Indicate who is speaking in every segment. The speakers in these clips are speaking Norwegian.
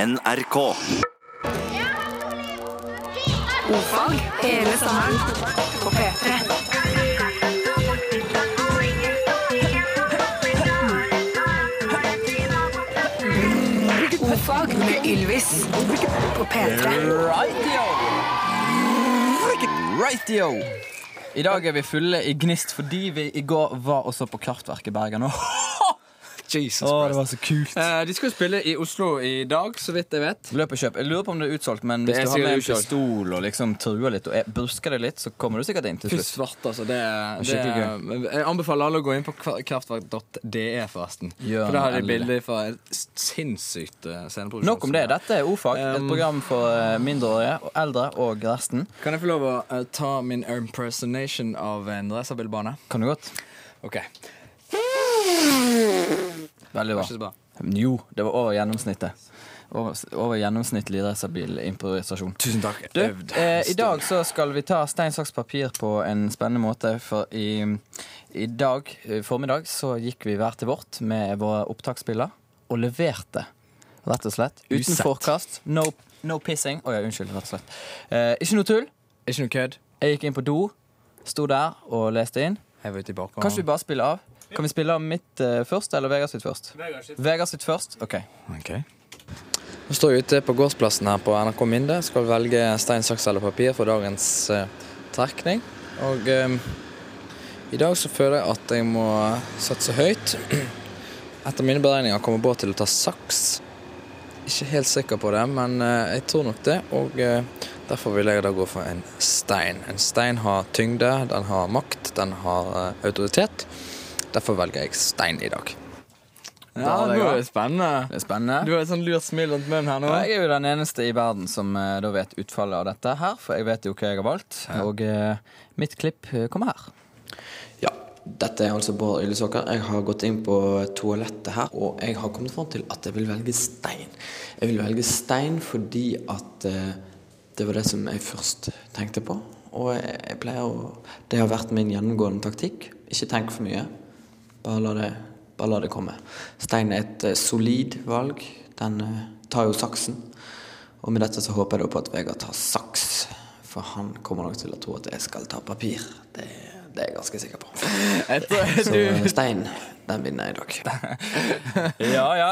Speaker 1: NRK.
Speaker 2: Fag hele sommeren på P3. Ordfag med Ylvis på P3.
Speaker 3: Rightio! Rightio! I dag er vi fulle i gnist fordi vi i går var og så på Kartverket Bergen. Åh,
Speaker 4: Jesus
Speaker 3: det var så kult!
Speaker 4: Eh, de skal jo spille i Oslo i dag, så vidt jeg vet.
Speaker 3: Løp og kjøp. Jeg lurer på om det er utsolgt, men
Speaker 4: Det
Speaker 3: hvis
Speaker 4: er
Speaker 3: du har med en
Speaker 4: sikkert utsolgt.
Speaker 3: pistol og liksom truer litt og er- busker det litt, så kommer du sikkert inn til
Speaker 4: Fy
Speaker 3: slutt.
Speaker 4: svart, altså. Det, er- det,
Speaker 3: Skikkelig
Speaker 4: er- jeg anbefaler alle å gå inn på kva- kraftverk.de, forresten.
Speaker 3: Gjør
Speaker 4: For der har de
Speaker 3: det endelig.
Speaker 4: bilder fra et s- sinnssykt eh, sceneproduksjon.
Speaker 3: Nok om det. Dette er Ofag, et
Speaker 4: Um,
Speaker 3: program for eh, mindreårige, og eldre og resten.
Speaker 4: Kan jeg få lov å eh, ta min impersonation av en racerbilbane?
Speaker 3: Kan du godt?
Speaker 4: OK.
Speaker 3: Veldig
Speaker 4: Ikke så
Speaker 3: bra.
Speaker 4: bra.
Speaker 3: Jo, det var over gjennomsnittet. Over, over gjennomsnittlig racerbilimprovisasjon.
Speaker 4: Tusen takk.
Speaker 3: Du, eh, I dag så skal vi ta stein, saks, papir på en spennende måte. For i, i dag eh, formiddag så gikk vi hver til vårt med våre opptaksspiller og leverte, rett og slett. Uten
Speaker 4: Usett.
Speaker 3: forkast. No, no pissing. Å ja, unnskyld, rett og slett. Eh, ikke noe tull.
Speaker 4: Ikke noe kødd.
Speaker 3: Jeg gikk inn på do, sto der og leste inn.
Speaker 4: Jeg var ute i bakgrunnen.
Speaker 3: Kanskje vi bare spiller av? Kan vi spille av mitt eh, først, eller Vegard sitt først? Vegard sitt, først. OK.
Speaker 4: Ok Nå står jeg ute på gårdsplassen her på NRK Minde. Skal velge stein, saks eller papir for dagens eh, trekning. Og eh, i dag så føler jeg at jeg må satse høyt. Etter mine beregninger kommer Bård til å ta saks. Ikke helt sikker på det, men eh, jeg tror nok det. Og eh, derfor vil jeg da gå for en stein. En stein har tyngde, den har makt, den har eh, autoritet. Derfor velger jeg stein i dag.
Speaker 3: Ja, nå er det
Speaker 4: spennende.
Speaker 3: Det er spennende.
Speaker 4: Du har et sånn lurt smil rundt munnen her nå.
Speaker 3: Ja, Jeg er jo den eneste i verden som eh, da vet utfallet av dette her, for jeg vet jo hva jeg har valgt. Og eh, mitt klipp eh, kommer her.
Speaker 5: Ja, dette er altså Bård Ylesåker. Jeg har gått inn på toalettet her, og jeg har kommet fram til at jeg vil velge stein. Jeg vil velge stein fordi at eh, det var det som jeg først tenkte på. Og jeg jeg pleier å Det har vært min gjennomgående taktikk. Ikke tenk for mye. Bare la det, bare la det komme. Stein er et eh, solid valg. Den eh, tar jo saksen. Og med dette så håper jeg da på at Vegard tar saks. For han kommer nok til å tro at jeg skal ta papir. Det, det er jeg ganske sikker på. Så eh, stein, den vinner jeg i dag.
Speaker 3: Ja, ja.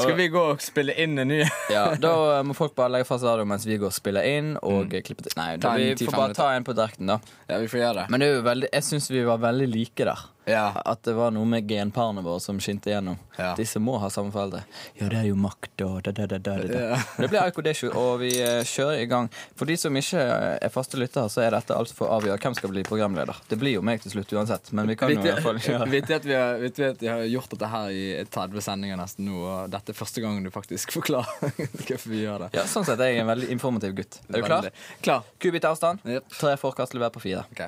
Speaker 4: Skal vi gå og spille inn en ny?
Speaker 3: Ja, Da eh, må folk bare legge fra seg radioen mens vi går og spiller inn og
Speaker 5: Mm.
Speaker 3: eh, klipper til. Nei, da,
Speaker 4: en
Speaker 3: vi
Speaker 4: 10-15
Speaker 3: får bare ta en på direkten, da.
Speaker 4: Ja, vi får gjøre det.
Speaker 3: Men det er jo veldig, jeg syns vi var veldig like der.
Speaker 4: Ja.
Speaker 3: At det var noe med genparene våre som skinte igjennom.
Speaker 4: Ja.
Speaker 3: Disse må ha samme foreldre. Ja, det er jo makt og da, da, da, da, da, da. Det blir Aikodeshu, og vi eh, kjører i gang. For de som ikke eh, er faste lyttere, så er dette alt for å avgjøre hvem skal bli programleder. Det blir jo meg til slutt uansett, men vi kan jo i hvert fall gjøre
Speaker 4: Vittig at, vi har- vet vi at vi har gjort dette her i 30 sendinger nesten nå, og dette er første gangen du faktisk forklarer hvorfor vi gjør det.
Speaker 3: ja, Sånn sett er jeg en veldig informativ gutt. Er du klar?
Speaker 4: Veldig. Klar.
Speaker 3: Kubit avstand.
Speaker 4: Jep.
Speaker 3: Tre forkast levert på fire.
Speaker 4: Ok.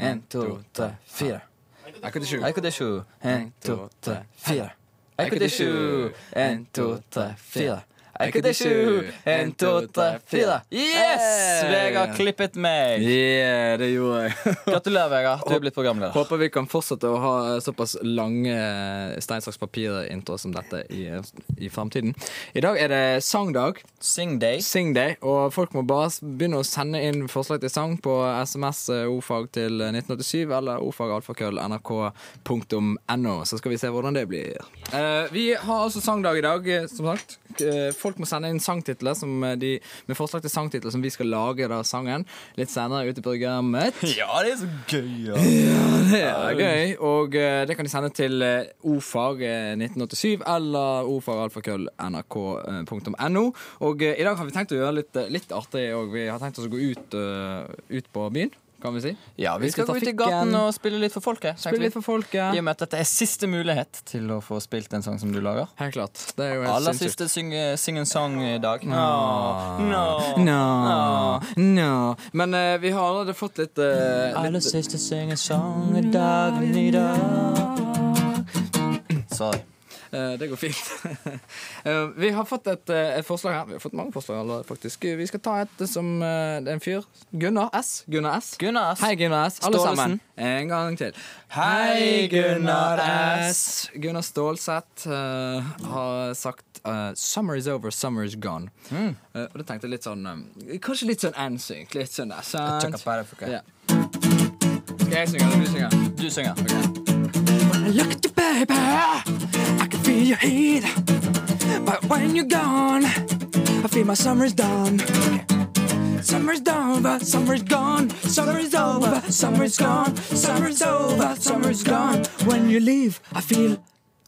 Speaker 3: En, to, tre, fire.
Speaker 4: Akkurat sju.
Speaker 3: Eikodeshu. En, to, tre, fire. Eikodeshu. En, to, tre, fire. Eikodeshu. En, to, tre, fire. Yes! Vegard klippet meg.
Speaker 4: Yeah, det gjorde jeg.
Speaker 3: Gratulerer, Vegard. Du er blitt programleder.
Speaker 4: Håper vi kan fortsette å ha eh, såpass lange stein, saks, papir-introer som dette i, i framtiden. I dag er det sangdag.
Speaker 3: Sing Day.
Speaker 4: Sing Day, og folk må bare s- begynne å sende inn forslag til sang på SMS eh, ordfag til 1987 eller ordfagalfakrøll.nrk.no, så skal vi se hvordan det blir. Eh, vi har altså sangdag i dag, eh, som sagt. Eh, folk må sende inn sangtitler som eh, de, med forslag til sangtitler som vi skal lage da sangen litt senere ute i programmet.
Speaker 3: Ja, det er så gøy, ja.
Speaker 4: Det er gøy, og eh, det kan de sende til eh, ordfag eh, 1987 eller eh, ordfagalfakrøll.nrk.no. Og eh, i dag har vi tenkt å gjøre litt, eh, litt artig òg. Vi har tenkt oss å gå ut, eh, ut på byen, kan vi si.
Speaker 3: Ja, vi skal gå ut i gaten og spille litt for folket. tenkte
Speaker 4: spille
Speaker 3: vi.
Speaker 4: litt for folket.
Speaker 3: I og med at dette er siste mulighet til å få spilt en sang som du lager.
Speaker 4: Helt klart. Det er jo helt
Speaker 3: Aller
Speaker 4: sinnssykt.
Speaker 3: siste syng, sing en sang i dag. Nå. Nå.
Speaker 4: No, no. Men eh, vi har allerede fått litt, eh, litt
Speaker 3: Aller siste syng en sang i dag, i dag. Sorry.
Speaker 4: Eh, Det går fint. Eh, vi har fått et, eh, et forslag her. Vi har fått mange forslag allerede, faktisk. Vi skal ta et som eh, det er en fyr. Gunnar S. Gunnar S.
Speaker 3: Gunnar S.
Speaker 4: Hei, Gunnar S. Alle
Speaker 3: Staalesen.
Speaker 4: sammen. En gang til.
Speaker 3: Hei, Gunnar S.
Speaker 4: Gunnar Stålseth eh, har har sagt eh, 'Summer is over, summer is gone'. Eh, og da tenkte jeg litt sånn eh, Kanskje litt sånn NSYNC. Litt sånn der, sant?
Speaker 3: Chaka Bada Fuka.
Speaker 4: Ja. Skal jeg synge, eller du synge?
Speaker 3: Du synger.
Speaker 4: Look at you, baby. I can feel your heat. But when you're gone, I feel my summer's done. Summer's over, summer's gone. Summer's over, summer's gone. Summer's over, summer's gone. When you leave, I feel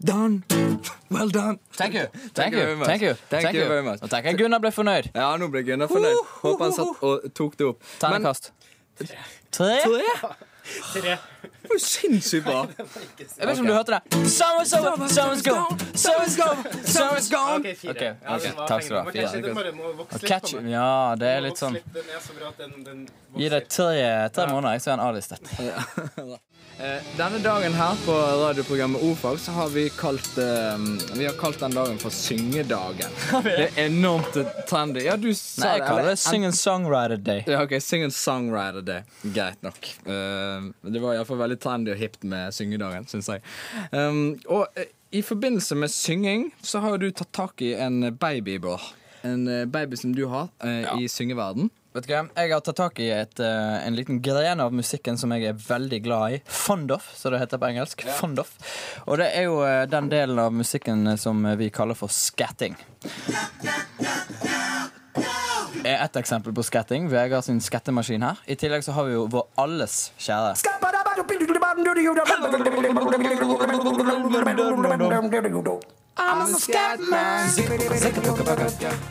Speaker 4: done. Well done.
Speaker 3: Thank you.
Speaker 4: Thank you very much.
Speaker 3: Thank you.
Speaker 4: Thank you very much.
Speaker 3: Og tenk at Gunnar ble fornøyd.
Speaker 4: Ja, nå ble Gunnar fornøyd. Håper han satt og tok det opp. Men
Speaker 3: Ternekast. Tre?
Speaker 4: tre? Det var jo sinnssykt bra.
Speaker 3: Jeg vet ikke om du hørte det. Summer's over, summer's gone, summer's gone, summer's gone.
Speaker 1: Ok, fire.
Speaker 3: Ok,
Speaker 1: Ja,
Speaker 3: ok,
Speaker 1: den var
Speaker 3: takk skal du ha.
Speaker 1: fin.
Speaker 3: Fire.
Speaker 1: Kanskje det bare må vokse litt
Speaker 3: Catch,
Speaker 1: på meg.
Speaker 3: ja, det er
Speaker 1: Må
Speaker 3: litt
Speaker 1: vokse
Speaker 3: sånn
Speaker 1: litt. Den er så bra at den- den vokser
Speaker 3: Gi det
Speaker 1: litt.
Speaker 3: tre, tre måneder, så er han avlistet.
Speaker 4: Eh, Denne dagen her på radioprogrammet Ofag så har vi kalt, eh, vi har kalt den dagen for syngedagen. Det er enormt trendy. Ja, du sa
Speaker 3: Nei, jeg kaller det Sing and Songwriter Day.
Speaker 4: Ja, ok, Sing and songwriter day. Greit nok. Eh, det var iallfall veldig trendy og hipt med syngedagen, syns jeg. Um, og eh, i forbindelse med synging så har jo du tatt tak i en baby, Bård. En eh, baby som du har eh, i syngeverden.
Speaker 3: Vet du hva, Jeg har tatt tak i et, eh, en liten gren av musikken som jeg er veldig glad i. Fond of, som det heter på engelsk. Fond of. Og det er jo eh, den delen av musikken eh, som vi kaller for skatting. Er ett eksempel på skatting. Vegard sin skattemaskin her. I tillegg så har vi jo vår alles kjære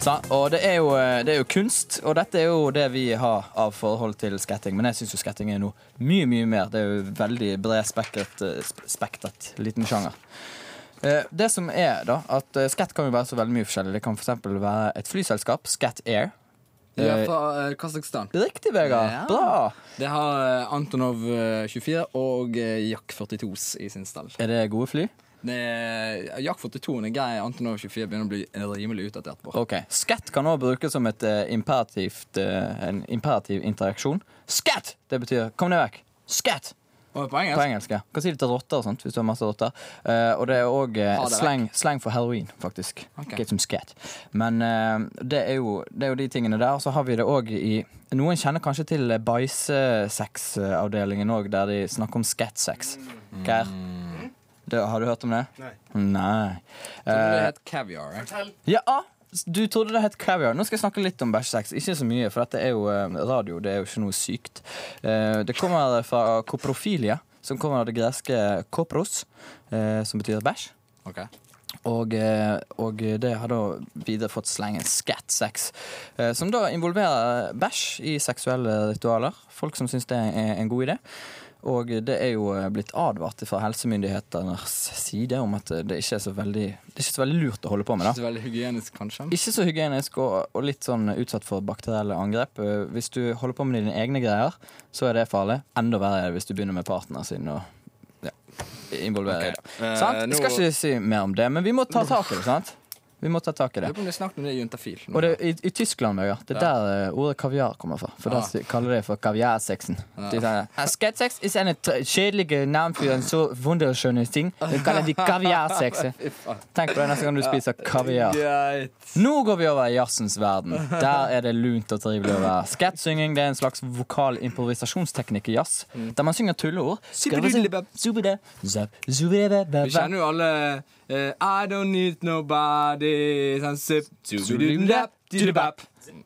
Speaker 3: Sa, og det er, jo, eh, det er jo kunst, og dette er jo det vi har av forhold til skatting. Men jeg syns jo skatting er noe mye, mye mer. Det er jo veldig bred spektret, eh, sp- spektret liten sjanger. Eh, Det som er da, at eh, skatt kan jo være så veldig mye forskjellig. Det kan f.eks. være et flyselskap, Skat Air.
Speaker 4: Ja,
Speaker 3: Eh,
Speaker 4: fra eh, Kasakhstan.
Speaker 3: Riktig, Vegard.
Speaker 4: Ja.
Speaker 3: Bra!
Speaker 4: Det har eh, Antonov eh, 24 og eh, Jack 42 i sin stall.
Speaker 3: Er det gode fly?
Speaker 4: Det er- Jack 42 er grei, Antonov 24 begynner å bli rimelig utdatert. På.
Speaker 3: Ok, Skatt kan også brukes som et eh, imperativt, eh, en imperativ interaksjon. Skatt! Det betyr 'kom deg vekk'. Skatt!
Speaker 4: Og på engelsk
Speaker 3: På engelsk, ja. Kan si det til rotter og sånt, hvis du har masse rotter. Eh, og det er òg
Speaker 4: Ha det
Speaker 3: slang, slang for heroin, faktisk.
Speaker 4: Ok.
Speaker 3: Get some scat. Men eh, det, er jo, det er jo de tingene der. Og så har vi det òg i Noen kjenner kanskje til bæsjesexavdelingen òg, der de snakker om scat-sex.
Speaker 4: Mm.
Speaker 3: Geir? Det, har du hørt om det?
Speaker 1: Nei.
Speaker 3: Nei.
Speaker 4: tror jeg det
Speaker 3: Eh,
Speaker 4: het caviar. eh.
Speaker 1: Fortell.
Speaker 3: ja, ah, du trodde det het caviar. Nå skal jeg snakke litt om bæsjesex. Ikke så mye, for dette er jo eh, radio. Det er jo ikke noe sykt. Eh, Det kommer fra koprofilia, som kommer av det greske kopros, eh, som betyr bæsj.
Speaker 4: Ok.
Speaker 3: Og, eh, og det har da videre fått slengen scat sex, eh, som da involverer bæsj i seksuelle ritualer. Folk som syns det er en god idé. Og det er jo eh, blitt advart fra helsemyndighetenes side om at eh, det ikke er så veldig, det er ikke så veldig lurt å holde på med. da
Speaker 4: Ikke så veldig hygienisk, kanskje.
Speaker 3: ikke så hygienisk og, og litt sånn utsatt for bakterielle angrep. Eh, Hvis du holder på med dine egne greier, så er det farlig. Enda verre er det hvis du begynner med partneren sin og ja, involverer deg.
Speaker 4: Eh,
Speaker 3: sant? Jeg skal
Speaker 4: nå-
Speaker 3: ikke si mer om det, men vi må ta tak i det. sant? Vi må ta tak i
Speaker 4: Jeg
Speaker 3: det.
Speaker 4: lurer på om det er snakk om det er juntafil.
Speaker 3: Og det er i, i Tyskland, Vegard. Det er der eh, ordet kaviar kommer fra. For
Speaker 4: Ah.
Speaker 3: der s- kaller de det for kaviarsexen. De sier, "Ah, Skatsex is en t- kjedelig navn for en så wunderskjønne ting. De kaller de kaviarsexe. Tenk på det neste gang du spiser kaviar.
Speaker 4: Greit.
Speaker 3: Nå går vi over i jazzens verden. Der er det lunt og trivelig å være. Skatsynging det er en slags vokal improvisasjonsteknikk i jazz.
Speaker 4: Mm.
Speaker 3: Der man synger tulleord.
Speaker 4: Superdudelibab.
Speaker 3: Zubide, zab, zubide, bab,
Speaker 4: Vi kjenner jo alle eh, I don't need nobody sånn, sip, tudududap, tudududap.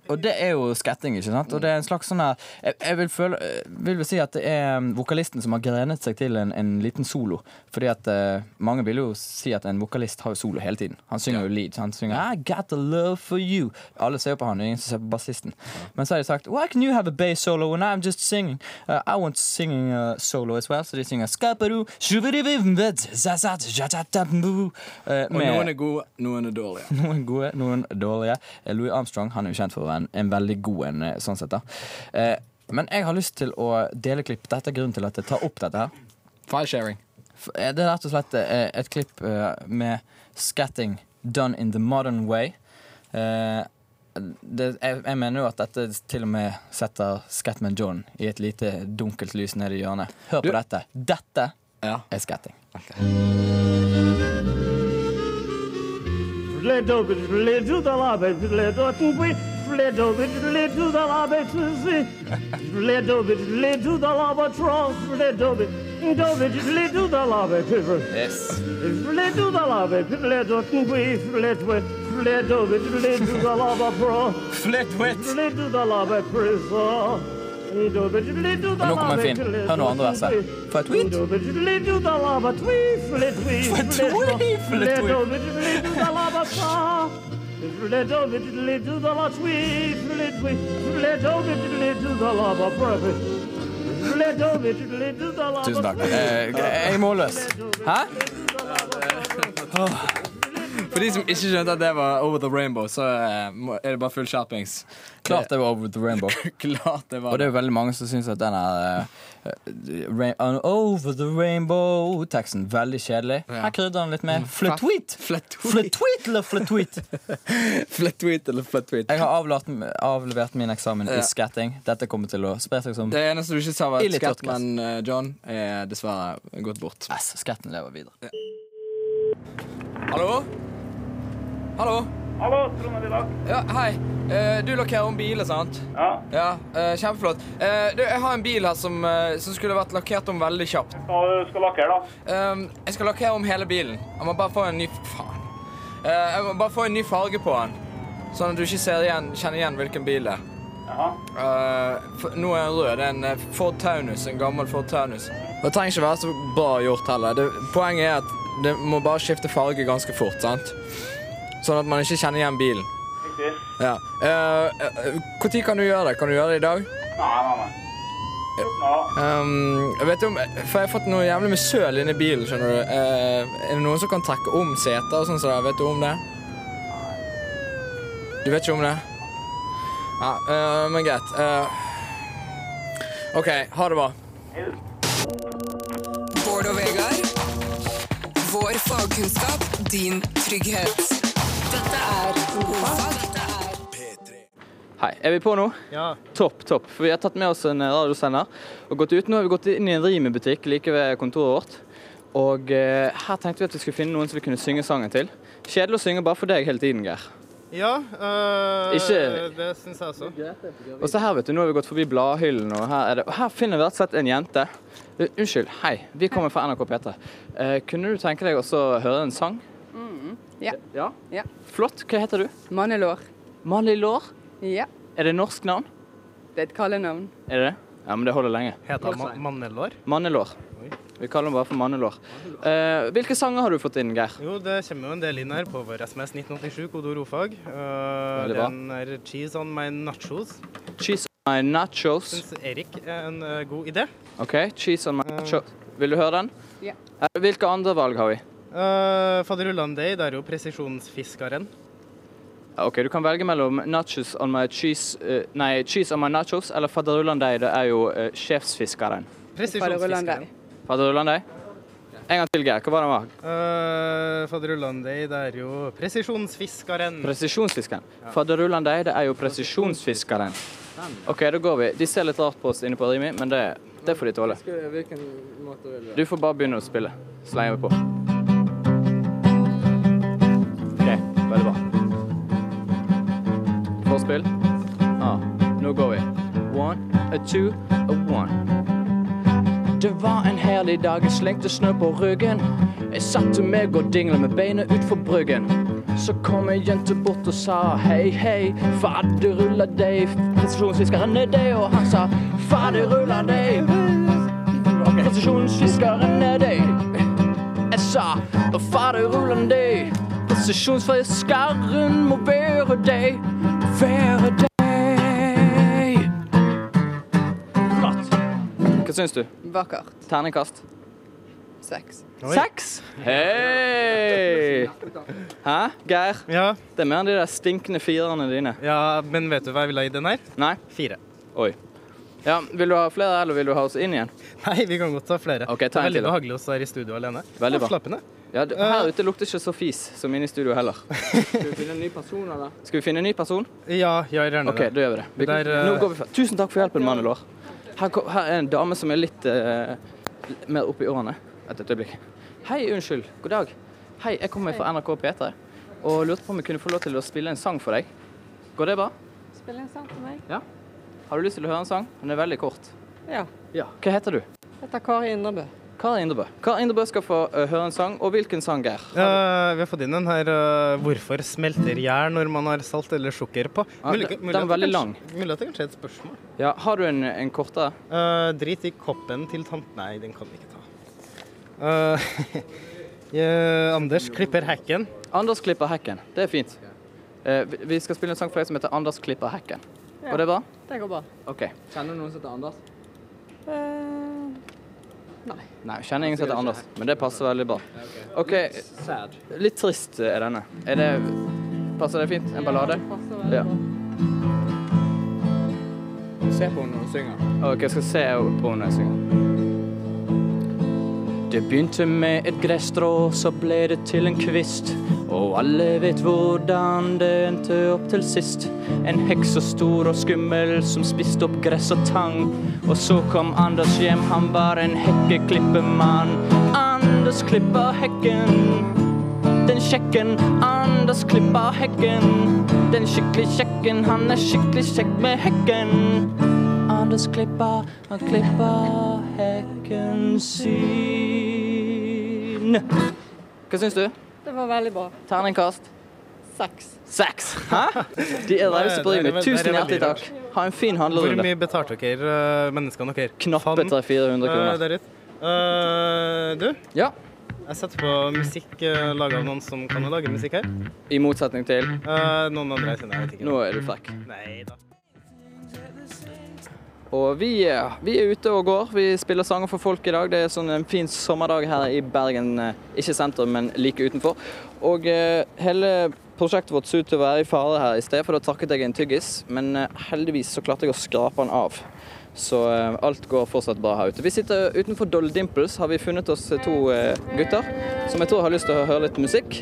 Speaker 3: Og det er jo skatting, ikke sant? Og det er en slags sånn her Jeg, jeg vil, føle, eh, vil vel si at det er mm, vokalisten som har grenet seg til en, en liten solo. Fordi at eh, mange vil jo si at en vokalist har jo solo hele tiden. Han synger jo lead. så Han synger I got the love for you. Alle ser jo på han, og ingen som ser på bassisten. Men så har de sagt Why can you have a bass solo when I'm just singing? Uh, I want singing uh, solo as well. Så de synger Skaparu, shubidibibibid, zazat, jatatabu. Eh,
Speaker 4: Og
Speaker 3: med-
Speaker 4: noen er gode, noen er dårlige.
Speaker 3: noen gode, noen dårlige. Eh, Louis Armstrong han er jo kjent for å være en, en veldig god en, eh, sånn sett. da. Eh, men jeg har lyst til å dele klipp. Dette er grunnen til at jeg tar opp dette her.
Speaker 4: Filesharing.
Speaker 3: For, eh, Det er rett og slett eh, et klipp eh, med skatting done in the modern way. Eh, det, jeg, jeg mener jo at dette til og med setter Scatman John i et lite dunkelt lys nede i hjørnet. Hør på dette. Dette
Speaker 4: Ja.
Speaker 3: er skatting.
Speaker 4: ok.
Speaker 6: Yes.
Speaker 7: Og
Speaker 6: nå kommer Finn. Hør nå andre verset. For et tweet.
Speaker 7: Tusen
Speaker 6: Tusen takk. Eh, jeg er målløs. Hæ?
Speaker 4: For de som ikke skjønte at det var Over the Rainbow, så eh, må- er det bare full skjerpings.
Speaker 6: Klart det var Over the Rainbow.
Speaker 4: Klart det
Speaker 6: Og
Speaker 4: var
Speaker 6: det er jo veldig mange som syns at den er eh, rain, on Over the Rainbow-teksten veldig kjedelig. Her krydrer han litt
Speaker 3: Mm.
Speaker 6: med flatweet. Flatweet eller flatweet?
Speaker 4: Flat tweet eller flat tweet.
Speaker 6: Jeg har avlevert, avlevert min eksamen
Speaker 4: Ja.
Speaker 6: i skatting. Dette kommer til å spre seg som
Speaker 4: Det eneste du ikke sa, var at
Speaker 6: Ille tørt,
Speaker 4: Scatman eh, John er dessverre gått bort.
Speaker 6: S. Skatten lever videre.
Speaker 4: Hallo? Hallo?
Speaker 7: Hallo, Trond Elidak.
Speaker 4: Ja, hei. Eh, du lakkerer om biler, sant?
Speaker 7: Ja,
Speaker 4: Ja, eh, kjempeflott. Eh, du, jeg har en bil her som, eh, som skulle vært lakkert om veldig kjapt.
Speaker 7: hva du skal lakkere, da?
Speaker 4: Um, jeg skal lakkere om hele bilen. Jeg må bare få en ny Faen. Eh, jeg må bare få en ny farge på den, sånn at du ikke ser igjen, kjenner igjen hvilken bil det er.
Speaker 7: Jaha.
Speaker 4: Eh, for- nå er den rød. Det er en eh, Ford Taunus. En gammel Ford Taunus. Det trenger ikke være så bra gjort heller. Det, poenget er at det må bare skifte farge ganske fort. sant? Sånn at man ikke kjenner igjen bilen.
Speaker 7: Riktig.
Speaker 4: Ja. Eh, Når kan du gjøre det? Kan du gjøre det i dag? Eh,
Speaker 7: Nei, nei, nei. Ja.
Speaker 4: Ehm, vet du om, for Jeg har fått noe jævlig med søl inni bilen. skjønner du Eh, Er det noen som kan trekke om seter og sånn? som det? Vet du om det? Du vet ikke om det? Ja, eh, men greit. Eh, OK, ha det bra.
Speaker 2: Bård og Vegard. Vår fagkunnskap, din trygghet. Dette er Ofag.
Speaker 3: Hei, er vi på nå?
Speaker 1: Ja.
Speaker 3: Topp, topp. For vi har tatt med oss en eh, radiosender og gått ut. Nå har vi gått inn i en Rimi-butikk like ved kontoret vårt. Og eh, her tenkte vi at vi skulle finne noen som vi kunne synge sangen til. Kjedelig å synge bare for deg hele tiden, Geir.
Speaker 1: Ja, øh,
Speaker 3: Ikke-
Speaker 1: det syns jeg også.
Speaker 3: Og så her, vet du, nå har vi gått forbi bladhyllen, og her, er det, og her finner vi rett og slett en jente. Eh, Unnskyld, hei, vi kommer fra NRK P3. Eh, kunne du tenke deg også å høre en sang?
Speaker 8: Mm, ja.
Speaker 3: Ja?
Speaker 8: Ja.
Speaker 3: Flott. Hva heter du?
Speaker 8: Mannelår.
Speaker 3: Mali Lår.
Speaker 8: Ja,
Speaker 3: Er det norsk navn?
Speaker 8: det er et kallenavn.
Speaker 3: Er det det? Ja, men det holder lenge.
Speaker 1: Heter han ma Mannelår?
Speaker 3: Mannelår. Vi kaller den bare for Mannelår. Eh, hvilke sanger har du fått inn, Geir?
Speaker 1: Jo, det kommer jo en del inn her på vår SMS 1987, kodord ordfag. Øh,
Speaker 3: Veldig bra.
Speaker 1: den er cheese on my nachos.
Speaker 3: Cheese on my nachos.
Speaker 1: Syns Erik er en øh, god idé.
Speaker 3: OK, cheese on my nachos. Vil du høre den?
Speaker 8: Ja.
Speaker 3: Eh, Hvilke andre valg har vi?
Speaker 1: Uh, Faderullan Day, det er jo presisjonsfiskeren.
Speaker 3: Ja, OK, du kan velge mellom nachos on my cheese eh, Nei, cheese on my nachos eller faderullan deg. Det er jo eh, sjefsfiskeren.
Speaker 8: Faderullan deg.
Speaker 1: Presisjonsfiskeren.
Speaker 3: Faderullan deg? En gang til, Geir. Hva var den? var?
Speaker 1: Uh, Faderullan Day, det er jo presisjonsfiskeren.
Speaker 3: Presisjonsfiskeren. Faderullan deg, det er jo presisjonsfiskeren. OK, da går vi. De ser litt rart på oss inne på Rimi, men det, det får de tåle. Du får bare begynne å spille. Så legger vi på. OK, veldig bra. Forspill. Ja, nå går vi. One, a two, a one. Det var en herlig dag, jeg slengte snø på ryggen. Jeg satte meg og dingla med beina utfor bryggen. Så kom ei jente bort og sa hei, hei, faderulla deg. Presisjonsfiskeren er deg, og han sa faderulla deg. Presisjonsfiskeren er deg. Jeg sa faderulla deg. Presisjonsfiskeren må være deg, være deg. Flott. Hva syns du?
Speaker 8: Vakkert.
Speaker 3: Terningkast?
Speaker 8: Seks.
Speaker 3: Seks? Hei! Hæ, Geir?
Speaker 1: Ja,
Speaker 3: Det er mer enn de der stinkende firerne dine.
Speaker 1: ja, men vet du hva jeg ville ha i den her?
Speaker 3: Nei?
Speaker 1: Fire.
Speaker 3: Oi. Ja, Vil du ha flere, eller vil du ha oss inn igjen?
Speaker 1: Nei, vi kan godt ta flere.
Speaker 3: Ok, ta en
Speaker 1: det er
Speaker 3: til,
Speaker 1: veldig
Speaker 3: da.
Speaker 1: behagelig å stå her i studio alene.
Speaker 3: Veldig bra.
Speaker 1: Avslappende.
Speaker 3: Ja, d- Her ute lukter ikke så fis som inne i studio heller.
Speaker 8: Skal vi finne en ny person, eller?
Speaker 3: Skal vi finne en ny person?
Speaker 1: Ja, jeg gjør gjerne
Speaker 3: OK, da gjør vi det. Vi,
Speaker 1: Der, eh,
Speaker 3: nå går vi fra. Tusen takk for hjelpen, Mannelår. Her, ko- her er en dame som er litt eh, mer oppe i årene. Et øyeblikk. Hei, unnskyld. God dag. Hei, jeg kommer fra NRK P3. og lurte på om jeg kunne få lov til å spille en sang for deg. Går det bra?
Speaker 9: Spill en sang til meg.
Speaker 3: Har du lyst til å høre en sang? Den er veldig kort.
Speaker 9: Ja.
Speaker 3: Ja. Hva heter du?
Speaker 9: Dette er Kari Indrebø.
Speaker 3: Kari Indrebø. Kari Indrebø skal få eh, høre en sang, og hvilken sang, Geir?
Speaker 1: Eh, vi har fått inn en her eh, 'Hvorfor smelter jern når man har salt eller sukker på'?
Speaker 3: Ja,
Speaker 1: Mulig-
Speaker 3: den-
Speaker 1: mulig
Speaker 3: den er
Speaker 1: at det
Speaker 3: veldig
Speaker 1: kanskje-
Speaker 3: lang.
Speaker 1: Mulig at det kanskje er et spørsmål.
Speaker 3: Ja, har du en, en kortere?
Speaker 1: Eh, drit i koppen til tant... Nei, den kan vi ikke ta. Eh, eh, Anders klipper hekken.
Speaker 3: Anders klipper hekken. Det er fint. Eh, vi- vi skal spille en sang for deg som heter 'Anders klipper hekken'. Går det bra?
Speaker 9: Det går bra.
Speaker 3: OK.
Speaker 4: Kjenner du noen som heter Anders?
Speaker 9: Eh,
Speaker 3: Nei, jeg kjenner ingen som heter Anders, men det passer veldig bra. OK,
Speaker 4: Sad.
Speaker 3: litt trist er denne. Er det Passer det fint? En ballade?
Speaker 9: passer veldig
Speaker 3: Ja.
Speaker 9: bra.
Speaker 4: Se på henne når hun synger.
Speaker 3: Ok, jeg skal se på henne synge. Det begynte med et gresstrå, så ble det til en kvist. Og alle vet hvordan det endte opp til sist. En heks så stor og skummel som spiste opp gress og tang. Og så kom Anders hjem, han var en hekkeklippemann. Anders klipper hekken den kjekken. Anders klipper hekken. Den skikkelig kjekken, han er skikkelig kjekk med hekken. Anders klipper, han klipper hekken sin. Hva syns du?
Speaker 9: Det var veldig bra.
Speaker 3: Terningkast?
Speaker 9: Seks.
Speaker 3: Seks. Hæ? De er rause på
Speaker 1: Det er-
Speaker 3: Rimi.
Speaker 1: det er
Speaker 3: Tusen
Speaker 1: veldig
Speaker 3: hjertelig takk. Ha en fin
Speaker 1: Hvor
Speaker 3: handlerunde.
Speaker 1: mye betalte dere eh, menneskene dere?
Speaker 3: Knappe
Speaker 1: Fant-
Speaker 3: 300-400
Speaker 1: Eh,
Speaker 3: kroner.
Speaker 1: det er rett. Eh, du,
Speaker 3: Ja,
Speaker 1: jeg setter på musikk uh, laga av noen som kan lage musikk her.
Speaker 3: i motsetning til
Speaker 1: Eh, noen andre jeg kjenner, jeg vet ikke.
Speaker 3: Nå er du frekk.
Speaker 1: Nei da.
Speaker 3: Og vi, eh, vi er ute og går. Vi spiller sanger for folk i dag. Det er sånn en fin sommerdag her i Bergen. eh, Ikke sentrum, men like utenfor. Og eh, hele prosjektet vårt så ut til å være i fare her i sted, for da trakket jeg en tyggis. Men eh, heldigvis så klarte jeg å skrape den av. Så eh, alt går fortsatt bra her ute. Vi sitter utenfor Doll Dimples, har vi funnet oss to eh, gutter som jeg tror har lyst til å høre litt musikk.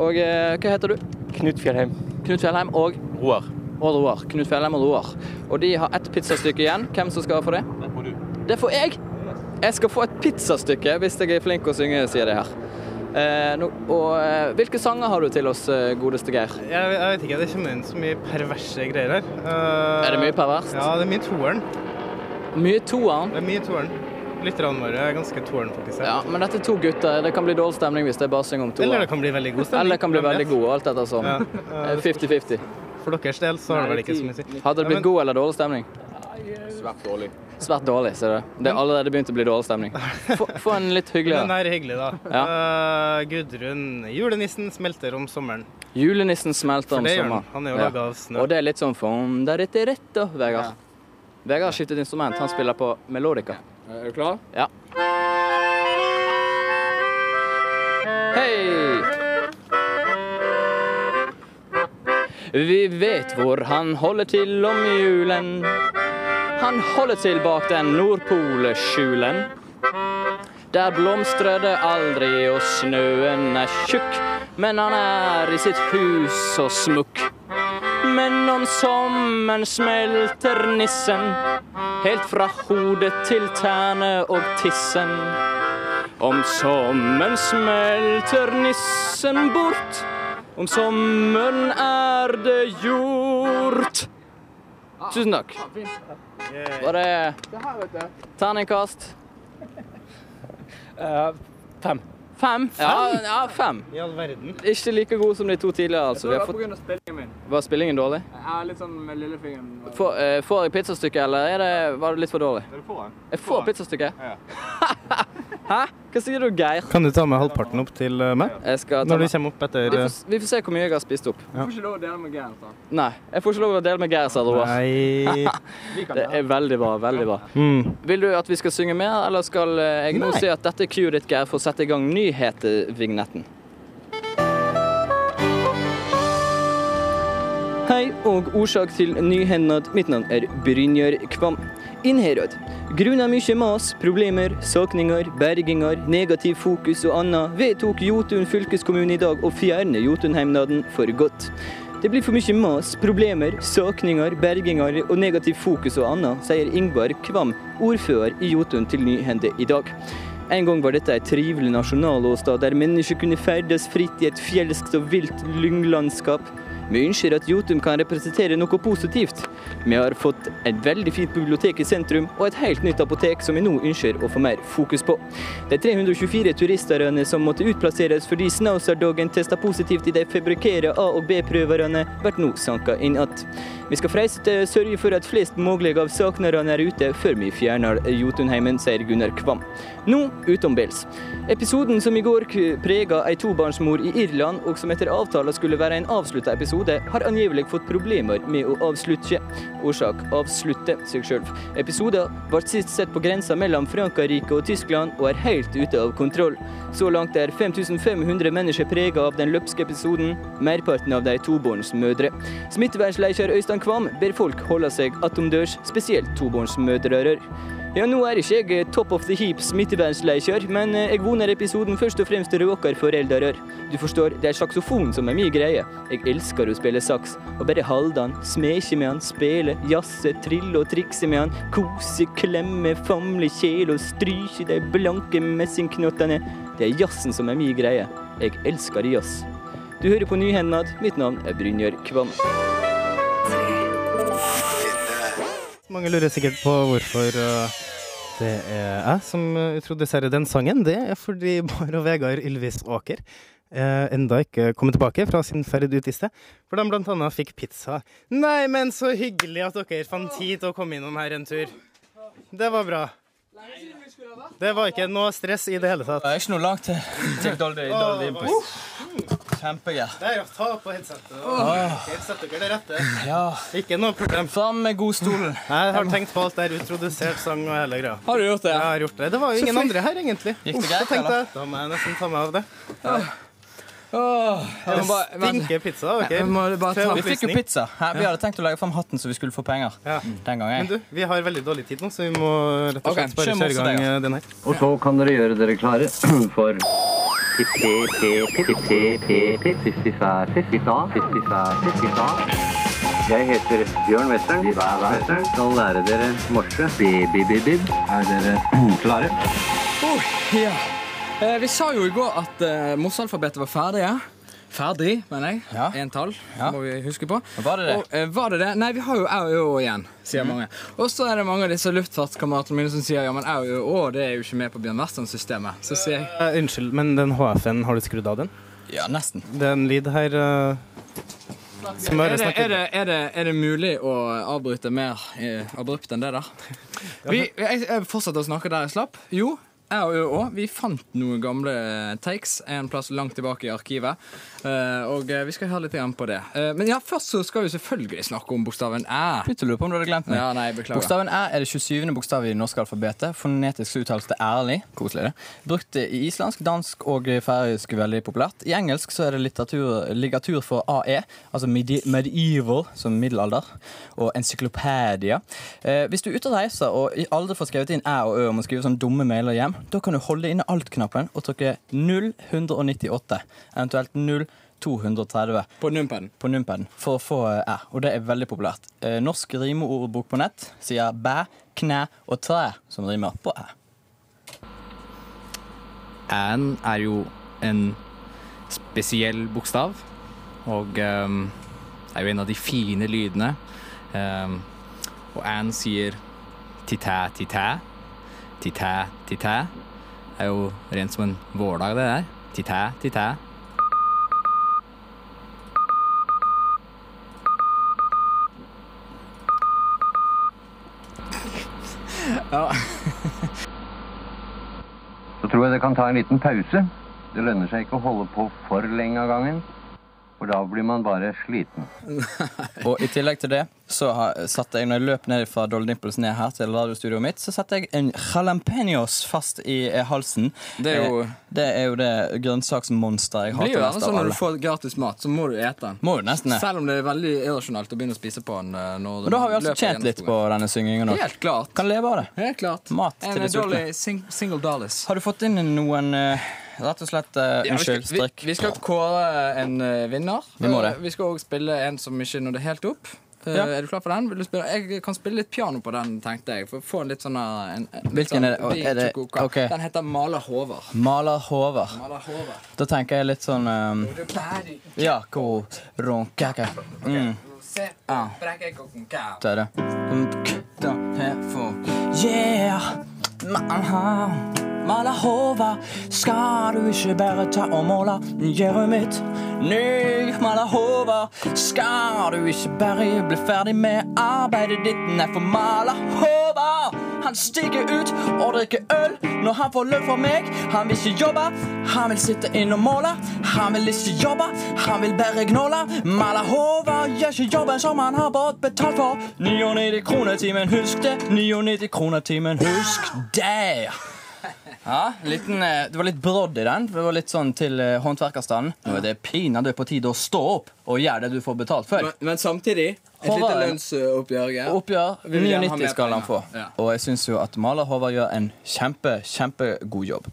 Speaker 3: Og eh, hva heter du? Knut Fjellheim. Knut Fjellheim og
Speaker 10: Roar.
Speaker 3: og Roar. Knut Fjellheim og Roar. Og de har ett pizzastykke igjen. Hvem som skal få det?
Speaker 10: Det får du.
Speaker 3: Det får jeg! Jeg skal få et pizzastykke hvis jeg er flink å synge, sier de her. Eh, nå- og eh, hvilke sanger har du til oss, eh, godeste Geir?
Speaker 1: Jeg, jeg vet ikke, det kommer inn så mye perverse greier her. Eh,
Speaker 3: Er det mye perverst?
Speaker 1: Ja, det er mye toeren.
Speaker 3: Mye toeren.
Speaker 1: Det er mye toeren. Lytterne våre er ganske toeren-fokusert.
Speaker 3: Ja, men dette er to gutter. Det kan bli dårlig stemning hvis jeg bare synger om
Speaker 1: Eller det
Speaker 3: toeren.
Speaker 1: kan bli veldig god stemning.
Speaker 3: Eller det kan bli
Speaker 1: Hvem
Speaker 3: veldig
Speaker 1: vet?
Speaker 3: god, alt etter som.
Speaker 1: Ja, eh,
Speaker 3: Eh, 50-50.
Speaker 1: for deres del så har det vel ikke så mye å si.
Speaker 3: Hadde det
Speaker 1: Ja, men-
Speaker 3: blitt god eller dårlig stemning?
Speaker 11: Svært dårlig.
Speaker 3: Svært dårlig, ser du. Det er allerede begynt å bli dårlig stemning. Få, få en litt
Speaker 1: Men den
Speaker 3: hyggeligere.
Speaker 1: her er hyggelig, da. Eh, Gudrun Julenissen smelter om sommeren.
Speaker 3: Julenissen smelter
Speaker 1: For
Speaker 3: om
Speaker 1: det gjør
Speaker 3: sommeren.
Speaker 1: han. Han er jo
Speaker 3: Ja.
Speaker 1: laget av snø.
Speaker 3: Og det er litt sånn from da rett rett, da, Vegard. Vegard har skiftet instrument. Han spiller på melodica.
Speaker 11: Er du klar?
Speaker 3: Hei! Vi vet hvor han holder til om julen. Han holder til bak den Nordpoleskjulen. Der blomstrer det aldri, og snøen er tjukk. Men han er i sitt hus så smukk. Men om sommeren smelter nissen helt fra hodet til tærne og tissen. Om sommeren smelter nissen bort. Om sommeren er det gjort. Tusen takk. Var det terningkast?
Speaker 10: fem.
Speaker 3: Fem? Ja, ja, fem.
Speaker 1: Eh, I all verden.
Speaker 3: Ikke like god som de to tidligere, altså. Vi har
Speaker 4: Det var på
Speaker 3: fått...
Speaker 4: grunn av spillingen min.
Speaker 3: Var spillingen dårlig?
Speaker 4: Jeg er litt sånn med lillefingeren.
Speaker 3: Får, eh, får jeg pizzastykket, eller er det, var det litt for dårlig?
Speaker 10: Dere får den.
Speaker 3: Jeg får pizzastykket. Hæ? Hva sier du, Geir?
Speaker 1: Kan du ta med halvparten opp til eh, meg?
Speaker 3: Jeg skal ta
Speaker 1: Når du
Speaker 3: med.
Speaker 1: kommer opp etter
Speaker 3: Vi får, vi får se hvor mye jeg har spist opp.
Speaker 4: Du får ikke lov å dele med Geir. sa han.
Speaker 3: Nei, jeg får ikke lov å dele med Geir, sa Roar.
Speaker 1: Nei
Speaker 3: Det er veldig bra. veldig bra.
Speaker 1: mm.
Speaker 3: Vil du at vi skal synge mer, eller skal eh, jeg nå
Speaker 1: Nei.
Speaker 3: si at dette er cue ditt, Geir, for å sette i gang nyhetvignetten? Hei og årsak til nyhendad. Mitt navn er Brynjar Kvam. Innherad. Grunna mykje mas, problemer, sakninger, bergingar, negativ fokus og anna, vedtok Jotun fylkeskommune i dag å fjerne Jotunheimnaden for godt. Det blir for mye mas, problemer, sakninger, bergingar og negativ fokus og anna, sier Ingvar Kvam, ordfører i Jotun til Nyhende i dag.
Speaker 12: En gang var dette en trivelig nasjonalåstad der mennesker kunne ferdes fritt i et fjelsk og vilt lynglandskap. Vi ønsker at Jotun kan representere noe positivt. Vi har fått et veldig fint bibliotek i sentrum, og et helt nytt apotek som vi nå ønsker å få mer fokus på. De 324 turistene som måtte utplasseres fordi Snauser-doggen testa positivt i de fabrikkerte A- og B-prøverne, blir nå sanka inn igjen. Vi skal freiste sørge for at flest mulig av saknerne er ute før vi fjerner Jotunheimen, sier Gunnar Kvam. Nå utenbils. Episoden som i går k- prega ei tobarnsmor i Irland, og som etter avtale skulle være en avslutta episode, har angivelig fått problemer med å avslutte. Årsak avslutte seg sjøl. Episoden ble sist sett på grensa mellom Frankrike og Tyskland, og er helt ute av kontroll. Så langt er 5500 mennesker prega av den løpske episoden, merparten av de tobarnsmødre. Smittevernleder Øystein Kvam ber folk holde seg attomdørs, spesielt tobarnsmødre. Ja, nå er ikke jeg top of the heap smittevernleder, men jeg vunner episoden først og fremst til dere foreldre. Du forstår, det er saksofon som er min greie. Jeg elsker å spille saks, og bare holde den, smeke med den, spille, jazze, trille og trikse med den, kose, klemme, famle, kjele og stryke de blanke messingknottene. Det er jazzen som er min greie. Jeg elsker jazz. Du hører på Nyhendad. Mitt navn er Brynjar Kvam.
Speaker 1: Mange lurer sikkert på hvorfor eh, det er jeg som eh, introduserer den sangen. Det er fordi Bård og Vegard Ylvisåker eh, enda ikke kommet tilbake fra sin ferd ut i sted. For de blant annet fikk pizza. Nei, men så hyggelig at dere fant tid til å komme innom her en tur. Det var bra. Det var ikke noe stress i det hele tatt.
Speaker 3: Det er ikke noe langt til, til Dolby, Dolby Impulse. Kjempegøy.
Speaker 1: Der, ja. Ta på headsetet. og-
Speaker 3: Åh.
Speaker 1: Ok, Sett dere det rette.
Speaker 3: Ja.
Speaker 1: Ikke noe problem.
Speaker 3: Fram med godstolen.
Speaker 1: Jeg har tenkt på alt der utrodusert sang og hele greia.
Speaker 3: Har du gjort det?
Speaker 1: Jeg har gjort det. Det var jo
Speaker 3: Så
Speaker 1: ingen
Speaker 3: flink.
Speaker 1: andre her, egentlig.
Speaker 3: Gikk det
Speaker 1: Uff,
Speaker 3: greit,
Speaker 1: da tenkte
Speaker 3: eller?
Speaker 1: jeg, Da må jeg nesten ta meg av det.
Speaker 3: Åh, jeg
Speaker 1: Det
Speaker 3: må bare- vent.
Speaker 1: stinker pizza. ok.
Speaker 3: Jeg må bare ta-
Speaker 1: Til
Speaker 3: Vi fikk jo
Speaker 1: opplysning.
Speaker 3: pizza. Hæ, vi
Speaker 1: Ja.
Speaker 3: hadde tenkt å legge fram hatten så vi skulle få penger. Den gangen.
Speaker 1: Men du, vi har veldig dårlig tid nå, så vi må rett og
Speaker 3: Ok,
Speaker 1: slett bare
Speaker 3: kjør
Speaker 1: kjøre i gang
Speaker 3: Mossedeg,
Speaker 1: eh, den her.
Speaker 13: Og så kan dere gjøre dere klare for Jeg heter Bjørn Western. Western. Skal lære dere morse. Bi-bi-bi-bib. Er dere klare?
Speaker 4: Oh, ja. eh, vi sa jo i går at eh, morsealfabetet var ferdig. Ja. Ferdig, mener jeg. Ja. tall, må vi huske på.
Speaker 3: Var det det?
Speaker 4: Og, eh, var det Mm. det? Nei, vi har jo au, au igjen, sier
Speaker 3: Mhm.
Speaker 4: mange. Og så er det mange av disse luftfartskameratene mine som sier ja, men au, au, å, det er jo ikke med på Bjørn Western-systemet. Så sier jeg
Speaker 1: Eh, unnskyld, men den HF-en, har du skrudd av den?
Speaker 3: Ja, nesten.
Speaker 1: Det er en lyd her eh, som
Speaker 4: er
Speaker 1: bare
Speaker 4: det, er,
Speaker 1: snakker
Speaker 4: det, er, det, er det mulig å avbryte mer eh, abrupt enn det der? Vi, jeg, jeg fortsetter å snakke der jeg slapp. Jo, jeg og Ø òg. Vi fant noen gamle takes en plass langt tilbake i arkivet. Eh, og eh, vi skal høre litt igjen på det. Eh, men ja, først så skal vi selvfølgelig snakke om bokstaven æ.
Speaker 3: Begynte å lure på om du hadde glemt meg.
Speaker 4: Ja, nei, beklager.
Speaker 3: Bokstaven æ er det 27. bokstavet i det norske alfabetet. Fonetisk uttales det ærlig. Koselig, det. Brukt i islandsk, dansk og færøysk veldig populært. I engelsk så er det litteratur, ligatur for AE, altså medi medieval, som middelalder, og encyklopedia. Eh, hvis du er ute og reiser og i- aldri får skrevet inn æ og ø og må skrive sånne dumme mailer hjem, da kan du holde inne alt-knappen og trykke 0198, eventuelt 0. 230
Speaker 4: På numpaden.
Speaker 3: På numpaden For å få eh, æ. Og det er veldig populært. Eh, Norsk rimeordbok på nett sier bæ, knæ og træ som rimer på æ.
Speaker 4: Æ-en er jo en spesiell bokstav, og ehm, er jo en av de fine lydene. Ehm, og æ-en sier titæ, titæ, titæ, titæ. Er jo rent som en vårdag, det der. Titæ, titæ.
Speaker 13: Så tror jeg dere kan ta en liten pause. Det lønner seg ikke å holde på for lenge av gangen, for da blir man bare sliten.
Speaker 3: Og i tillegg til det så har, satte jeg, når jeg løp ned fra Dolly Dimples ned her til radiostudioet mitt, så satte jeg en jalapeños fast i eh, halsen.
Speaker 4: Det er jo-
Speaker 3: Eh, det, er jo det grønnsaksmonsteret jeg
Speaker 4: Det blir
Speaker 3: hater
Speaker 4: jo gjerne
Speaker 3: mest
Speaker 4: sånn
Speaker 3: av
Speaker 4: når du
Speaker 3: alle.
Speaker 4: får gratis mat, så må du ete den.
Speaker 3: Må jo nesten det.
Speaker 4: Selv om det er veldig irrasjonelt å begynne å spise på den eh, når
Speaker 3: Og da har vi altså
Speaker 4: løper
Speaker 3: tjent
Speaker 4: gjennom
Speaker 3: litt på denne syngingen nå.
Speaker 4: Helt klart.
Speaker 3: Kan leve av det.
Speaker 4: Helt klart.
Speaker 3: Mat
Speaker 4: En
Speaker 3: til de sultne.
Speaker 4: dårlig sing single dollars.
Speaker 3: Har du fått inn noen eh, Rett og slett eh,
Speaker 4: Ja, vi skal-
Speaker 3: Unnskyld, strikk.
Speaker 4: Vi, vi skal kåre en eh, vinner.
Speaker 3: Vi må det.
Speaker 4: Eh, Vi skal òg spille en som ikke nådde helt opp. Eh,
Speaker 14: Ja.
Speaker 4: Er du klar for den? Vil du spille? Jeg kan spille litt piano på den, tenkte jeg. For å få en litt sånn eh, en, en,
Speaker 14: Hvilken
Speaker 4: sånn,
Speaker 14: er det? Å, er det-
Speaker 4: bit-chokoka.
Speaker 14: ok.
Speaker 4: Den heter Maler Håvard.
Speaker 14: Maler Håvard.
Speaker 4: Maler Håvard.
Speaker 14: Da tenker jeg litt sånn
Speaker 3: eh,
Speaker 14: um, Ja, hvor ronkaka. Mm. Ja. Det er det. Mm, k- da, her, for.
Speaker 3: Yeah, maha. Mala hova, skal du ikke bare ta og måle gjerdet mitt? Nei, mala hova, skal du ikke bare bli ferdig med arbeidet ditt? Nei, for mala hova, han stikker ut og drikker øl når han får lønn fra meg. Han vil ikke jobbe, han vil sitte inne og måle. Han vil ikke jobbe, han vil bare gnåle. Mala hova gjør ikke jobben som han har fått betalt for. 99 kroner timen, husk det. 99 kroner timen, husk det.
Speaker 14: Ja, liten, eh, det var litt brodd i den. Det var litt sånn til eh, håndverkerstanden. Nå er det pinadø på tide å stå opp og gjøre det du får betalt for.
Speaker 4: Men, men samtidig et lite
Speaker 14: Håvard.
Speaker 4: lønnsoppgjør. Geir.
Speaker 14: Oppgjør
Speaker 4: Vi vil gjerne ha mer
Speaker 14: 99 skal han få.
Speaker 4: penger. Ja.
Speaker 14: Og jeg syns jo at maler Håvard gjør en kjempe, kjempegod jobb.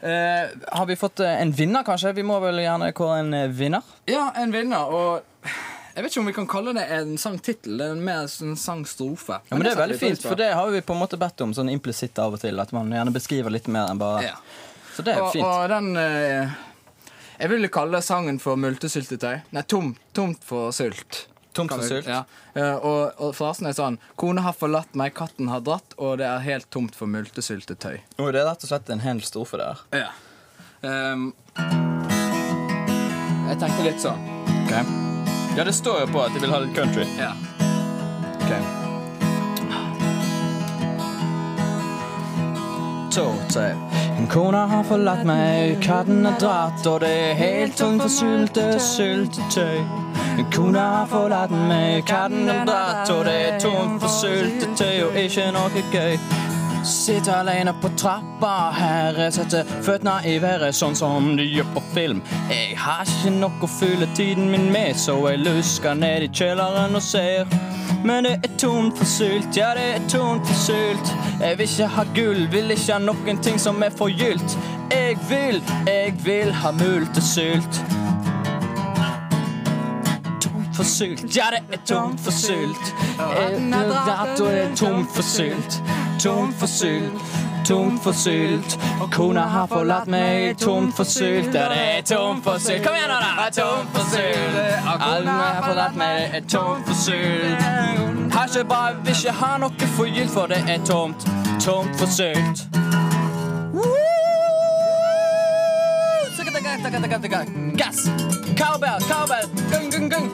Speaker 14: Eh, har vi fått eh, en vinner, kanskje? Vi må vel gjerne kåre en eh, vinner?
Speaker 4: Ja, en vinner, og jeg vet ikke om vi kan kalle det en sangtittel. Det er mer en sangstrofe.
Speaker 14: Ja, men Det er veldig fint, for det har vi på en måte bedt om sånn implisitt av og til. At man gjerne beskriver litt mer enn bare
Speaker 4: Ja.
Speaker 14: Så det er
Speaker 4: og,
Speaker 14: fint.
Speaker 4: Og den eh, Jeg ville kalle sangen for multesyltetøy. Nei, tom, tomt for sult.
Speaker 14: Tomt
Speaker 4: Kan
Speaker 14: for
Speaker 4: vi-
Speaker 14: sult.
Speaker 4: Ja. Eh, og, og frasen er sånn Kona har forlatt meg, katten har dratt, og det er helt tomt for multesyltetøy.
Speaker 14: Og det er rett og slett en hel strofe der.
Speaker 4: Ja. Ehm, jeg tenkte litt sånn.
Speaker 14: Ja, det står jo på at de vil ha litt country.
Speaker 4: Ja.
Speaker 3: Tåtøy. Kona har forlatt meg, katten er dratt, og det er helt tomt for sylte, syltetøy. Kona har forlatt meg, katten er dratt, og det er tomt for syltetøy og ikke noe gøy. Sitter alene på trappa, her setter føttene i været sånn som de gjør på film. Jeg har ikke nok å fylle tiden min med, så jeg lusker ned i kjelleren og ser. Men det er tomt for sylt, ja det er tomt for sylt. Jeg vil ikke ha gull, vil ikke ha noen ting som er forgylt. Jeg vil, jeg vil ha multesylt. Tomt for sylt, ja det er tomt for sylt. Jeg vil at det er tomt for sylt. Tomt for sylt, tomt for sylt. Og kona har forlatt meg, tomt for sylt. Ja det er tomt for sylt. Kom igjen nå da! Tomt for sylt. Alle har forlatt meg, det er tomt for sylt. Har ikke bare, vil ikke ha noe forgylt, for det er tomt. Tomt for sylt. Gass! Cowbell, cowbell! Gung, gung, gung!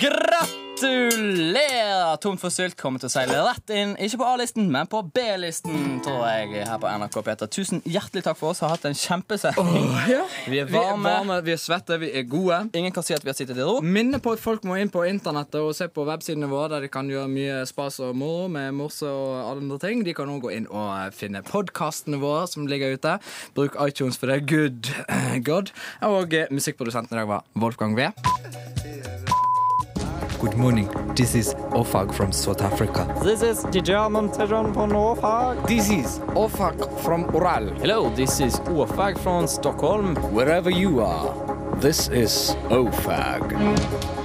Speaker 3: Gratulerer! Tomt for sylt kommer til å seile rett inn. Ikke på A-listen, men på B-listen, tror jeg. her på NRK Peter. Tusen hjertelig takk for oss. Har hatt en kjempesending. Vi er
Speaker 4: Vi er
Speaker 14: varme.
Speaker 4: varme, vi er svette, vi er gode.
Speaker 14: Ingen kan si at vi har sittet i ro.
Speaker 4: Minne på at folk må inn på internettet og se på websidene våre, der de kan gjøre mye spas og moro med morse og alle andre ting. De kan òg gå inn og eh, finne podkastene våre som ligger ute. Bruk iTunes for det. Good God. Og eh, musikkprodusenten i dag var Wolfgang V. Good morning. This is Ofag from South Africa.
Speaker 15: This is the German version for Norfolk.
Speaker 4: This is Ofag from Ural.
Speaker 15: Hello, this is Ofag from Stockholm.
Speaker 16: Wherever you are, this is OFAG.